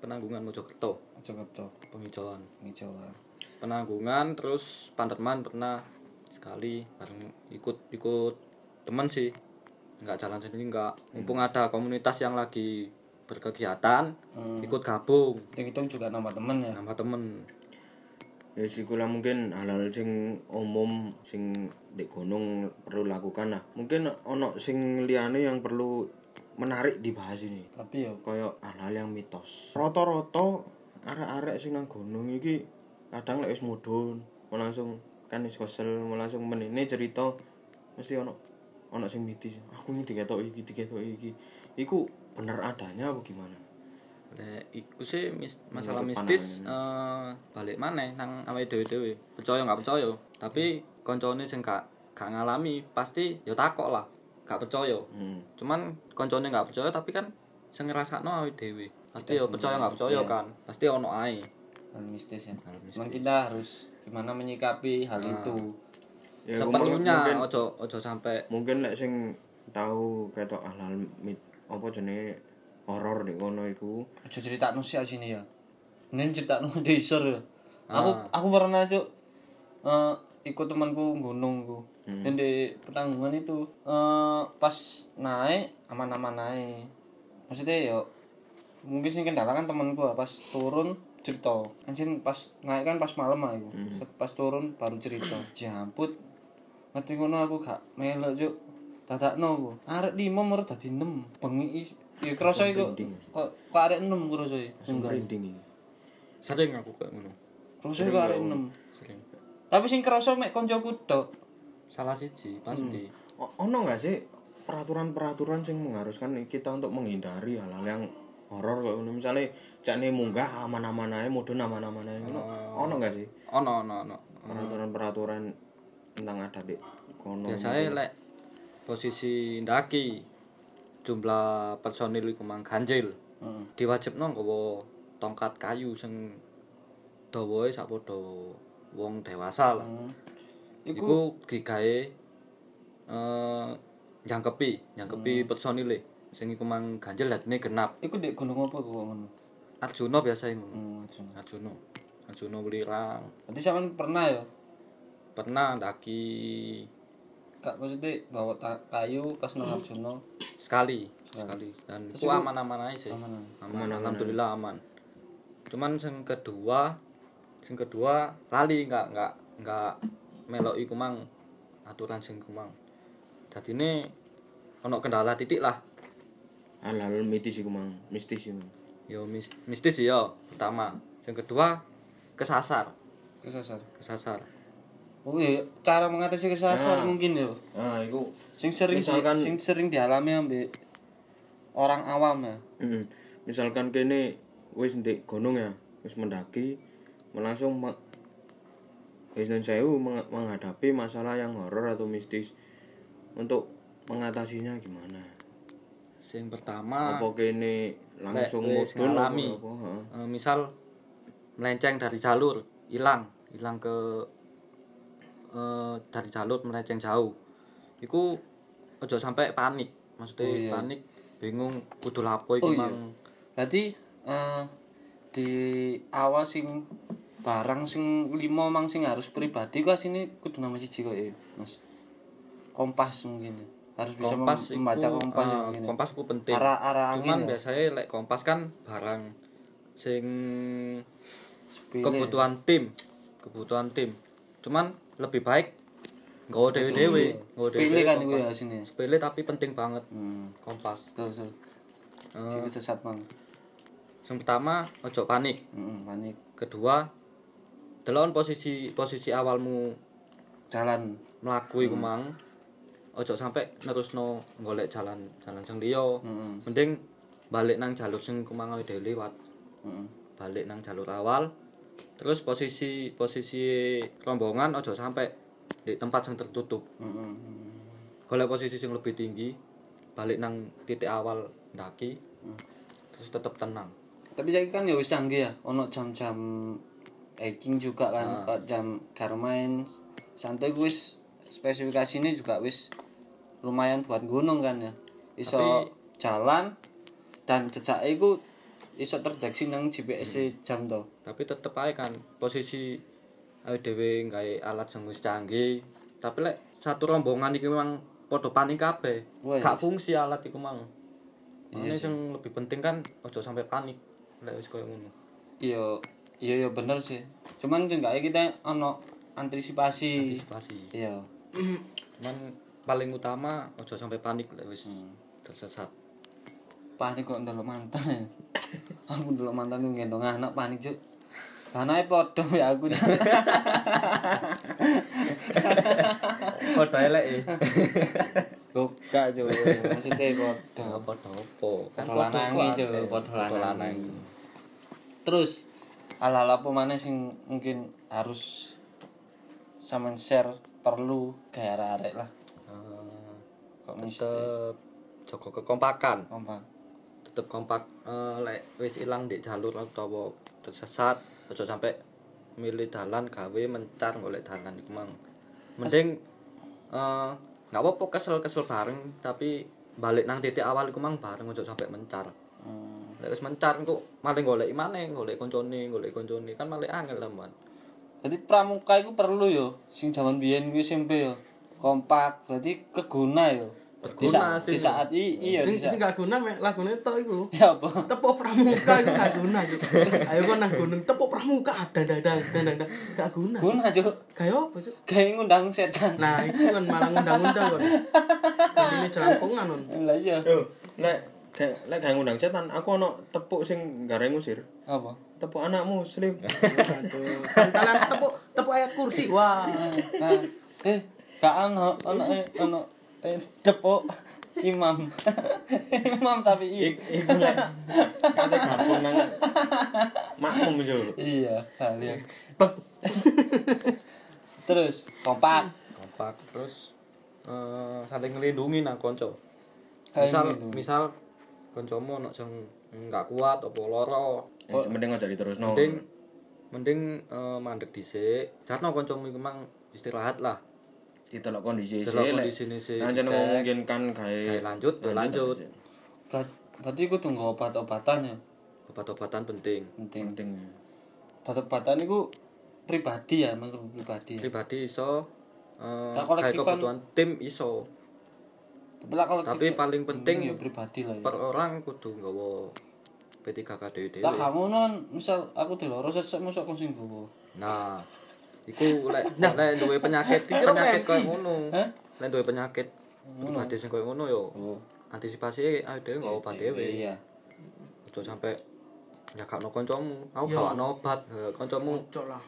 Penanggungan Mojokerto Mojokerto penghijauan penghijauan Penanggungan terus Panderman pernah sekali bareng ikut ikut teman sih nggak jalan sendiri nggak mumpung ada komunitas yang lagi berkegiatan ikut gabung hitung-hitung juga nama temen ya nama temen ya sikulah mungkin hal-hal sing umum sing di gunung perlu lakukan lah mungkin ono sing liyane yang perlu menarik dibahas ini tapi ya koyo hal-hal yang mitos roto-roto arek-arek sing nang gunung iki kadang lek wis mudhun mau langsung kan wis kesel mau langsung menene cerita mesti ono ono sing mitis aku ini diketoki iki diketoki iki iku bener adanya apa gimana Lek iku sih mis- masalah Menurut mistis eh, balik maneh nang awake dhewe-dhewe. Percaya nggak percaya, tapi koncone sing gak gak ngalami pasti ya takok lah. Gak percaya. hmm. Cuman koncone nggak percaya tapi kan sing ngrasakno awake dhewe. Pasti ya percaya nggak percaya kan. Pasti ono ae. hal mistis ya Hal mistis. Nah. cuman kita harus gimana menyikapi hal itu Ya, seperlunya mungkin- ojo ojo sampai mungkin lek sing tahu ketok halal mit apa jenenge horor ning kono iku Aja cerita sih sini ya. Ini cerita nu desa ya. Aku aku pernah cuk eh, ikut temanku gunungku. Dan di penanggungan itu eh, pas naik aman-aman naik. Maksudnya ya mungkin sing kendala kan temanku ya, pas turun cerita. Anjir pas naik kan pas malam lah iku. Set Pas turun baru cerita. Jamput ngerti ngono aku gak melok cuk. Dadakno aku. Arek 5 mer dadi 6. Bengi is- ya kroso iku. Kok kok arek 6 kroso iki. Enggak. merinding iki. sering aku kayak ngono Kroso iku arek 6. sering Tapi sing kroso mek koncoku tok. salah siji pasti O- ono nggak sih peraturan-peraturan sing mengharuskan kita untuk menghindari hal-hal yang horor kayak ngono misale cakne munggah aman-aman ae mudun aman-aman ae ngono ono nggak sih ono ono ono peraturan-peraturan tentang adat di kono biasanya Ya, lek posisi ndaki jumlah personil iku mang ganjil Hmm. diwajibno nggawa tongkat kayu sing dawae sak padha wong dewasa lah iku digawe eh jangkepi jangkepi personile sing iku mang ganjil dadine genap Iku ndek gunung apa kok ngono? Arjuna biasa ngono Hmm, Arjuna. Arjuna Arjuna Welirang Berarti sampean pernah ya? pernah ndaki Kak maksudnya bawa ta- kayu pas nang Arjuna. sekali sekali dan itu aman-aman aja sih aman, alhamdulillah aman cuman yang kedua yang kedua lali nggak nggak nggak melok iku mang aturan sing kumang jadi ini ono kendala titik lah hal-hal mitis iku mang mistis iku yo mis- mistis yo pertama yang kedua kesasar Kesasar. kesasar Oh iya, cara mengatasi kesasar mungkin ya. ah iku Sing sering di- Misalkan- sing sering dialami ambek orang awam ya. Mm. misalkan kene wis ndek gunung ya wis mendaki langsung me- wis nun sewu meng- menghadapi masalah yang horor atau mistis untuk mengatasinya gimana yang pertama apa kene langsung Ah. Lek wis mudun apa ngalami. apa, ha? eh, misal melenceng dari jalur hilang hilang ke eh, dari jalur melenceng jauh iku ojo sampai panik maksudnya panik bingung kudu lapo iku iya. Oh iya. mang Berarti eh di awal sing barang sing limo mang sing harus pribadi kok sini kudu nama siji kok ya, Mas. Kompas mungkin. ya. Harus bisa mem- kompas iku, membaca kompas ya eh, mungkin. ya. kompas iku penting Arah- arah angin cuman ya? biasanya lek kompas kan barang sing Sepele. kebutuhan tim kebutuhan tim cuman lebih baik nggak dewe dewe nggak Sepele kan iku ya sini. sepele tapi penting banget Hmm. kompas Terus. terus. Eh. Sini sesat mang. Hmm, yang pertama ojo panik Heeh, panik. kedua delon posisi posisi awalmu Jalan. melaku iku mang ojo sampai nerusno golek jalan jalan sing liya mending balik nang jalur sing kumang awake dhewe liwat Heeh. balik nang jalur awal terus posisi posisi rombongan ojo sampai di tempat yang tertutup Heeh. golek posisi yang lebih tinggi balik nang titik awal daki terus tetap tenang Tapi saiki kan ya wis canggih ya, ono jam-jam hiking juga kan, kok jam Garmin santai ku wis spesifikasinya juga wis lumayan buat gunung kan ya. Iso Tapi- jalan dan jejak iku iso terdeteksi nang GPS -e jam to. tapi tetep ae kan posisi ayo dhewe gawe alat sing wis canggih tapi lek satu rombongan iki memang padha panik kabeh Wes. gak fungsi alat iku mang ini yang lebih penting kan ojo sampai panik lek wis koyo ngono Iya, iya ya bener sih. Cuman enggak kita ono antisipasi. antisipasi Iya. cuman paling utama ojo sampai panik lek wis Hmm. tersesat panik kok ndelok mantan ya. aku ndelok mantan ku gendong anak panik cuk karena podo ya aku Cuk. padha elek e Loh, gak cuk maksudnya podo Oh, padha apa Padha lanangi, Cuk. Padha padha lanang lanangi. terus hal-hal apa mana sing mungkin harus sampean share perlu gaya arek lah Hmm. kok mistis tetep jaga kekompakan kompak tetep kompak eh, lek wis ilang di jalur utawa tersesat aja sampai milih dalan gawe mencar golek dalan iku mang mending eh, nggak apa-apa kesel-kesel bareng tapi balik nang titik awal iku mang bareng ojo sampai mencar. Nek wis mencar kok malah golek maneh, golek koncone, golek koncone kan malah angel lah, Man. Jadi pramuka itu perlu yo, sing zaman biyen kuwi SMP yo. Kompak, berarti keguna yo. Di Berguna sa- sih. Di saat i- iya di Sing sing saat. gak guna mek lagune tok iku. Ya apa? Tepuk pramuka iku gak guna. Cuk. Ayo kon nang gunung tepuk pramuka ah, ada ada ada ada ada gak guna. Cuk. Guna Cuk. Kayak apa sih? Kayak ngundang setan. Nah, itu kan malah ngundang-undang kon. Ini jelampongan kon. Lah iya. Yo, lek kayak lek kayak ngundang setan, aku ono tepuk sing gara ngusir. Apa? Tepuk anakmu, Slim. Aduh, kalian tepuk tepuk ayat kursi. Wah. Nah, eh gak ono ono eh ono eh depok imam. imam Syafi'i. Ik- Iku lek kate gabung nang makmum yo. Iya, kalian. Bek. Terus kompak. kompak terus eh, saling ngelindungi nang konco Saling misal ngelindungi. misal koncomu ono sing nggak kuat apa lara Oh, mending aja diterusno. mending mending eh, mandek dhisik jarno koncomu iku mang istirahat lah ditelok kondisi sih. Delok lek Nah, kondisine sih, Anjen dicek. memungkinkan kan gawe Gawe lanjut, ya lanjut. Ber- Berarti kudu nggo obat-obatan ya. obat-obatan penting Penting. Penting. Obat-obatan itu pribadi ya, menurut pribadi. Ya. pribadi iso eh, Nah, gawe kolektifan- kebutuhan tim iso Tapi lah kalau Tapi kita- paling penting- ya pribadi lah. Ya. per orang kudu nggawa P3K dhewe Lah kamu non, misal aku diloro sesek mosok kon sing gowo. nah iku lek lek duwe penyakit penyakit koyo ngono Hah? Hmm. lek duwe penyakit pribadi sing koyo ngono yo Oh. antisipasi ayo dhewe nggak obat dhewe Iya. ojo sampe nyakakno kancamu aku gawakno obat Eh, kancamu Cok lah.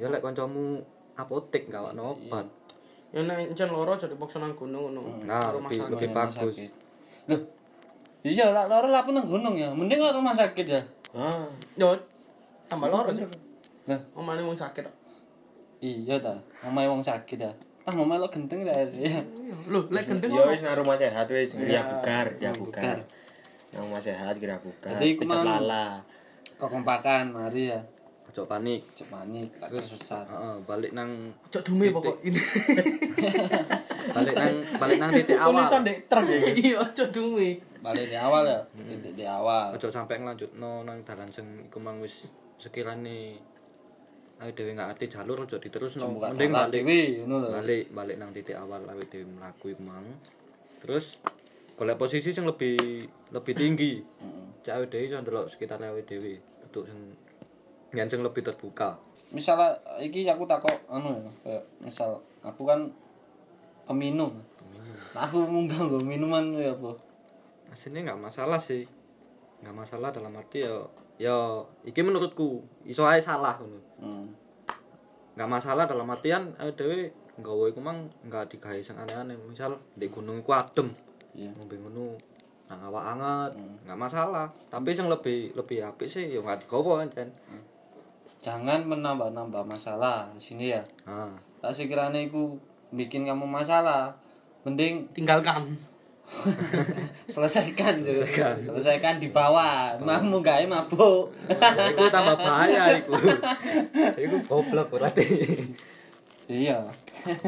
ya lek kancamu apotek gawakno obat Ya nek encen loro jadi paksa nang gunung ngono. Hmm, nah Rumah lebih sakit. lebih Rumah bagus sakit. Loh. Iya, lah loro lah nang gunung ya. Mending lah rumah sakit ya. Ah, Yo, tambah loro sih. Lah, Omane mung sakit. kok. iya ta. Omahe wong sakit ya. Ah, omahe lo genteng ta. Ya. Loh, lek gendeng ya wis nang rumah sehat wis, Iya. ya bugar, ya bugar. Nang rumah sehat kira bugar. Jadi iku Pecet mang- lala. Kok kompakan, mari ya. ojo panik Cek manik, tak tersesat. Heeh, balik nang Cok dume pokok ini. balik nang balik nang titik awal Tulisan dek truk ya. Iya, cok dume. Balik di awal ya, Hmm. titik di awal. ojo sampe nglanjutno nang dalan sing iku mang wis sekirane ayo dhewe nggak ati jalur ojo diterusno Bukan mending salah balik dewe, ngono lho. balik balik nang titik awal awet dhewe mlaku iku mang terus golek posisi sing lebih lebih tinggi cek awet dhewe iso ndelok sekitar awet dhewe untuk sing yang sing lebih terbuka misalnya iki aku takok anu ya kayak misal aku kan peminum Hmm. Nah, aku munggah nggo minuman ya apa aslinya nggak masalah sih nggak masalah dalam arti yo yo iki menurutku iso ae salah ngono hmm. nggak masalah dalam artian eh, dewe nggawa iku mang nggak digawe sing aneh-aneh misal di gunung iku adem Iya. ngombe ngono nang awak anget nggak masalah tapi sing lebih lebih apik sih yo nggak digawa kan jangan menambah-nambah masalah di sini ya ah tak sekiranya aku bikin kamu masalah mending Tinggalkan. selesaikan juga selesaikan di bawah mamu gawe mabuk ya, iku tambah bahaya iku iku goblok berarti iya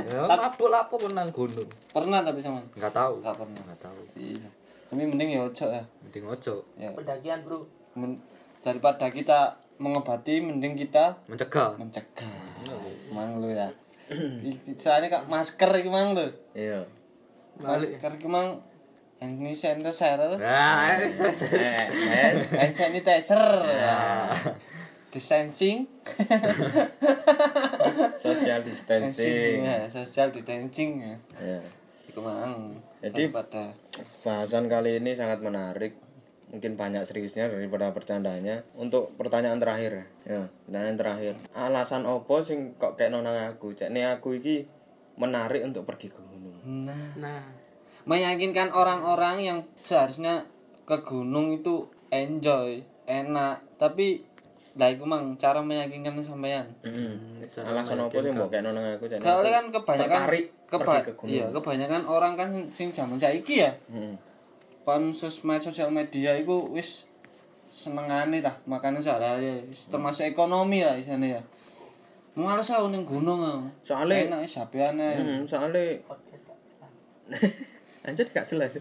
ya lapo lapo menang gunung pernah tapi sama nggak tahu Nggak pernah. nggak tahu iya tapi mending ya ojo ya mending ojo ya Pendakian, Bro. men- daripada kita mengobati mending kita mencegah mencegah mang lu ya I- soalnya kak masker iki mang lu Iya. masker iki mang hand sanitizer nah Eh, eh. hand sanitizer distancing Social distancing Iya. distancing. ya social distancing ya Ya. iku mang Jadi- pada Bahasan kali ini sangat menarik. Mungkin banyak seriusnya daripada bercandanya. Untuk pertanyaan terakhir. Ya, pertanyaan terakhir. Alasan opo sing kok kayak nonang aku? Cek nih aku iki menarik untuk pergi ke gunung. nah Nah, meyakinkan orang-orang yang seharusnya ke gunung itu enjoy enak tapi lah iku mang cara meyakinkan sampean Alasan opo sing mbok kayak nonang aku? Cek nih Soalnya aku- kan kebanyakan tertarik keba pergi ke gunung. iya, kebanyakan orang kan sing- sing zaman saiki ya. Mm-mm. Kon sosmed sosial media iku wis Hmm. senengane tah, makane sehari-hari wis termasuk ekonomi lah isane ya. Males aku ning gunung aku. Soale- enak sapiane. Hmm, soalnya anjir gak jelas.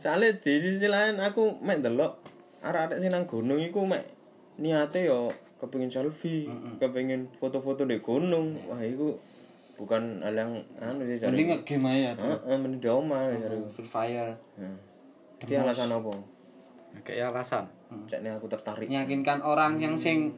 Soalnya di sisi lain aku mek delok arek-arek sing nang gunung iku mek niate yo kepengin selfie, kepengin foto-foto di gunung. Wah, iku bukan hal yang anu sih cari. Mending nge-game ae ya. Heeh, mending di omah cari. Free Fire. Heeh. Iki alasan apa? Kayak alasan. Mm. Cek nih aku tertarik. Meyakinkan orang yang sing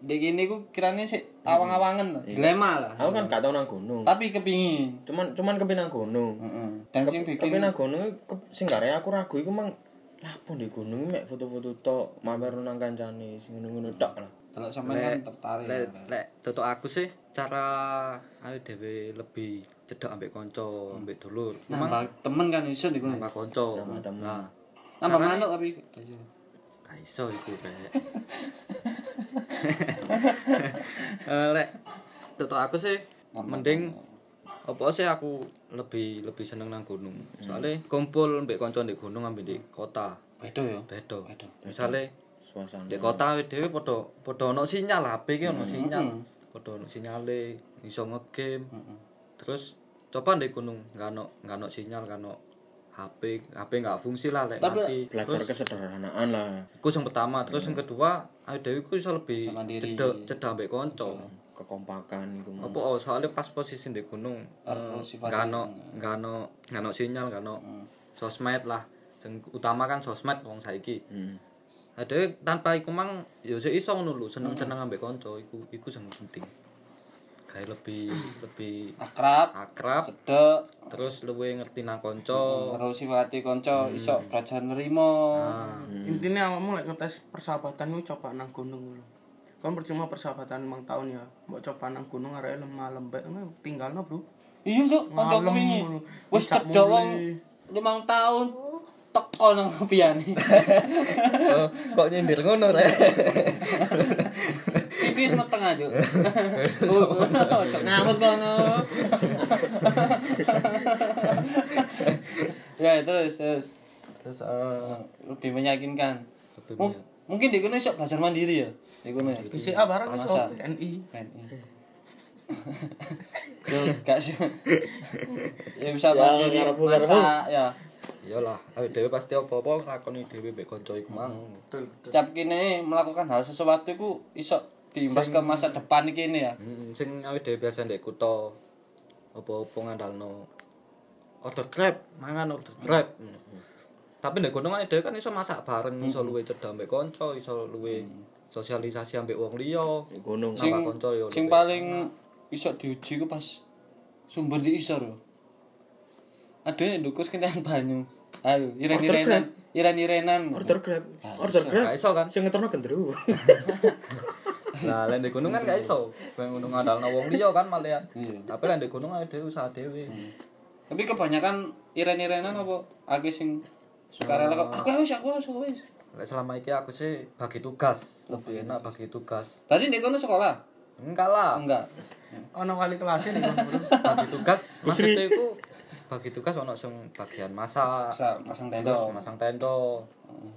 di gini ku kirane sik awang-awangan, Iya. dilema lah. Aku kan gak tau nang gunung. Tapi kepingin. Cuman cuman kepengin nang gunung. Heeh. Dan sing bikin Kepengin nang gunung ke- sing karep aku ragu iku mang lapo di gunung mek foto-foto tok, mamer nang kancane sing ngono-ngono tok lah. telok sampean kan tertarik. Lek lek tutuk aku sih cara ayo dhewe lebih cedak ambek kanca, ambek dulur. Nambah temen kan iso di gunung. Nambah kanca. temen. Nah, Nambah manuk tapi. gak iso iku kayak. Eh, lek tutuk aku sih mending apa sih aku lebih lebih seneng nang gunung. Soale kumpul ambek kanca ndek gunung ambek di kota. Beda ya. Beda. Misale Suasana. Di kota wis dhewe padha padha ono sinyal HP ki ono sinyal. Padha ono sinyale iso nge-game. Terus coba di gunung nggak ono nggak ono sinyal nggak ono HP HP nggak fungsi lah lek mati. belajar kesederhanaan lah. Iku sing pertama, terus yang kedua, ayo dhewe ku iso lebih Sama diri. cedek cedek ambek kanca. kekompakan iku mau. Apa oh, soalnya pas posisi di gunung Perlu eh, sifat nggak ono nggak ono nggak ono sinyal nggak ono sosmed lah. Sing utama kan sosmed wong saiki. Hmm. Ade tanpa iku mang ya sik iso ngono lho, seneng-seneng ambek kanca iku iku sing penting. Gawe lebih lebih Akrab, akrab, cedek, terus luwe ngerti nang kanca. terus sifati Hmm. kanca iso belajar nerimo. Ah. Hmm. Intinya awakmu lek ngetes persahabatanmu coba nang gunung dulu. Kan percuma persahabatan mang tahun ya. Mbok coba nang gunung arek lemah lembek tinggal no, Bro. Iya, Cuk, kanca Ngalem, kepingi. ngono. Wis Dicak cedek wong muli. 5 tahun teko nang piani. Oh, kok nyindir ngono ta? TV wis meteng aja. Oh, Cuk, ngamut kono. Ya, terus terus Terus eh, lebih meyakinkan. lebih Mung- banyak. Mungkin di kono iso belajar mandiri ya. Di kono ya. BCA barang ah iso Masa? PNI. iya. Yo, gak sih. Ya bisa Ya, mandiri, ngarepmu, masak ya. Iyalah, awake dhewe pasti apa-apa lakoni dhewe mbek kanca iku mang. setiap kini melakukan hal sesuatu ku iso diimbas ke masa depan kini ya Hmm, sing awake dhewe biasa ndek kutha apa-apa ngandalno order Grab, mangan order Grab. Hmm. Tapi ndek gunung awake dhewe kan iso masak bareng, iso luwe cedhak ambek kanca, iso luwe sosialisasi ambek wong liya. Di gunung. sing Nambah konco ya, sing lebih. paling iso diuji ku pas sumber di isor lho aduh ini dukus kentean banyu ayo iren irenan iren irenan Order Grab. Order Grab. Gak iso kan? Sing ngeterno gendru. Nah, lek ndek gunung kan gak iso. Pengen gunung ngandalno wong liya kan malah. Tapi lek ndek gunung awake dhewe usaha dhewe. tapi kebanyakan iren irenan apa akeh sing sukarela kok aku wis aku wis aku wis Lek selama iki aku sih bagi tugas, lebih enak bagi tugas. berarti ndek kono sekolah Enggak lah, enggak Ono wali kelasnya di kono. Bro. bagi tugas maksudnya iku bagi tugas ono sing bagian masak, bisa masang terus tenda masang tenda,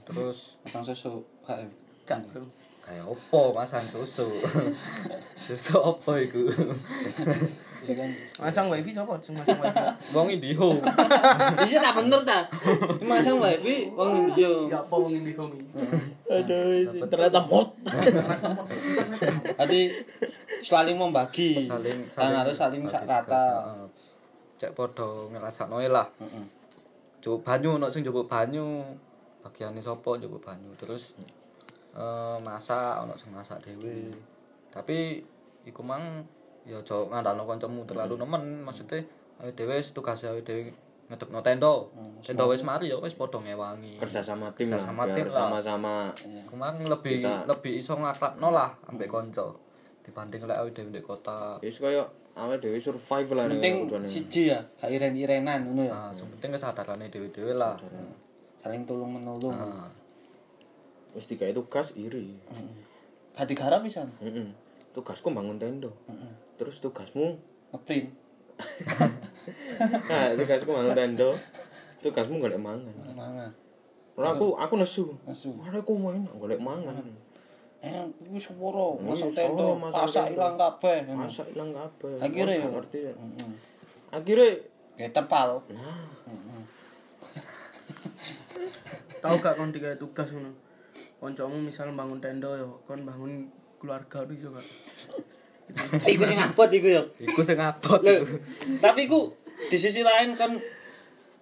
terus masang susu Gak, ya? Gak, Bro. kayak opo masang susu. susu opo iku? kan? Masang wifi sapa? Sing Masang wifi. Wong Indiho. Iya tak bener ta. Masang wifi wong India. Ya apa wong di komi. Aduh, ternyata bot. Jadi saling membagi. Saling- Dan harus saling bagi sak tugas, ya. rata. heeh. Cek podo ngrasakno lah. Coba banyu ono sing njupuk banyu. Bagiane sapa njupuk banyu. Terus eh, masak ono sing masak dhewe. Tapi iku mang ya aja ngandalno kancamu terlalu nemen maksudnya ayo dhewe wis tugase ayo dhewe ngedekno tenda. Mm, Tenda wis mari ya wis padha ngewangi. Kerja sama tim. lah, Kerja sama biar tim lah. Sama-sama. Iku mang lebih Kita- lebih iso ngakrapno lah ambek kanca dibanding lek awake dhewe ndek kota. Wis koyo awake dhewe survive lah nih, Penting kebutuhannya. siji ya, gak iren-irenan ngono ya. Nah, Ah, sing penting kesadarannya dhewe-dhewe lah. Saling tulung-menolong. Nah, Wis dikai tugas iri. Gak digarap pisan. Heeh. Tugasku bangun tenda. Terus tugasmu Ngeprint. Nah, tugasku mangan tendo. Tugasmu golek mangan. Mangan. Ora aku aku nesu. Nesu. Ora aku main golek mangan. eh iku sepuro Iya, masak tento sepuro, masak pasak tento. ilang kabeh masa ilang kabeh Akhirnya Nggak ya? ngerti ya heeh akhirnya ya terpal Tahu gak kon digawe tugas ngono. Kancamu misal bangun tenda yo, kon bangun keluarga itu iso gak? iku sing abot iku ya Iku sing abot. Loh, tapi ku di sisi lain kan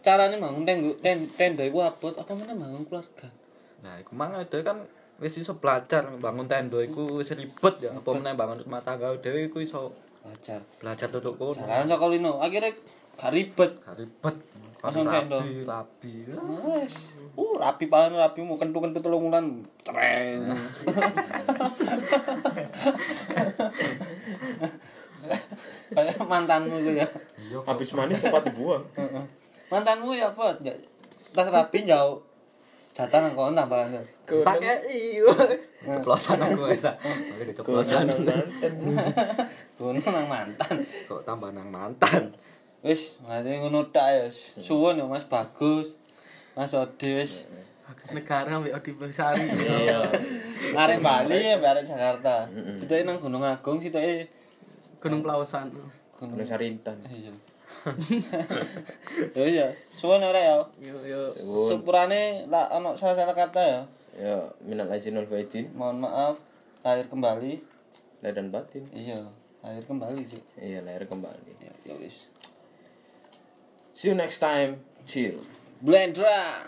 caranya bangun tenda ten, tenda iku abot apa meneh bangun keluarga Nah, iku mang ada kan wis iso belajar bangun tenda iku wis ribet ya apa meneh bangun rumah tangga dhewe iku iso wajar belajar tutuk kono. jalan saka lino akhirnya gak ribet Gak ribet. Kan Langsung tenda. rabi, rabi. Wes. Uh, rapi banget rapi mau kentu kentu telung wulan. Keren. Kayak mantanmu gue ya. habis manis cepat dibuang Mantanmu ya apa? Ya, Tas rapi jauh. Jatah nang kono Eh. tambahan. Jat. Tak iyo. Ceplosan aku wis. Ceplosan. Kono nang mantan. Kok tambah nang mantan. Wis, mari ngono tak ya. Suwun ya Mas Bagus. Mas Odi wis. Bagus negara ambek Odi Besari. Arek Bali ya, arek Jakarta. Kita nang Gunung Agung sitoke Gunung Pelausan. Gunung Gunung Sarintan Iya. Yo ya, suwon ora ya. Yo yo. Sepurane lak ono salah-salah kata ya. ya minal aizin wal faizin Mohon maaf lahir kembali. lahir dan batin Iya, lahir kembali sih. iya lahir kembali Ya, ya wis. see you next time chill Blendra.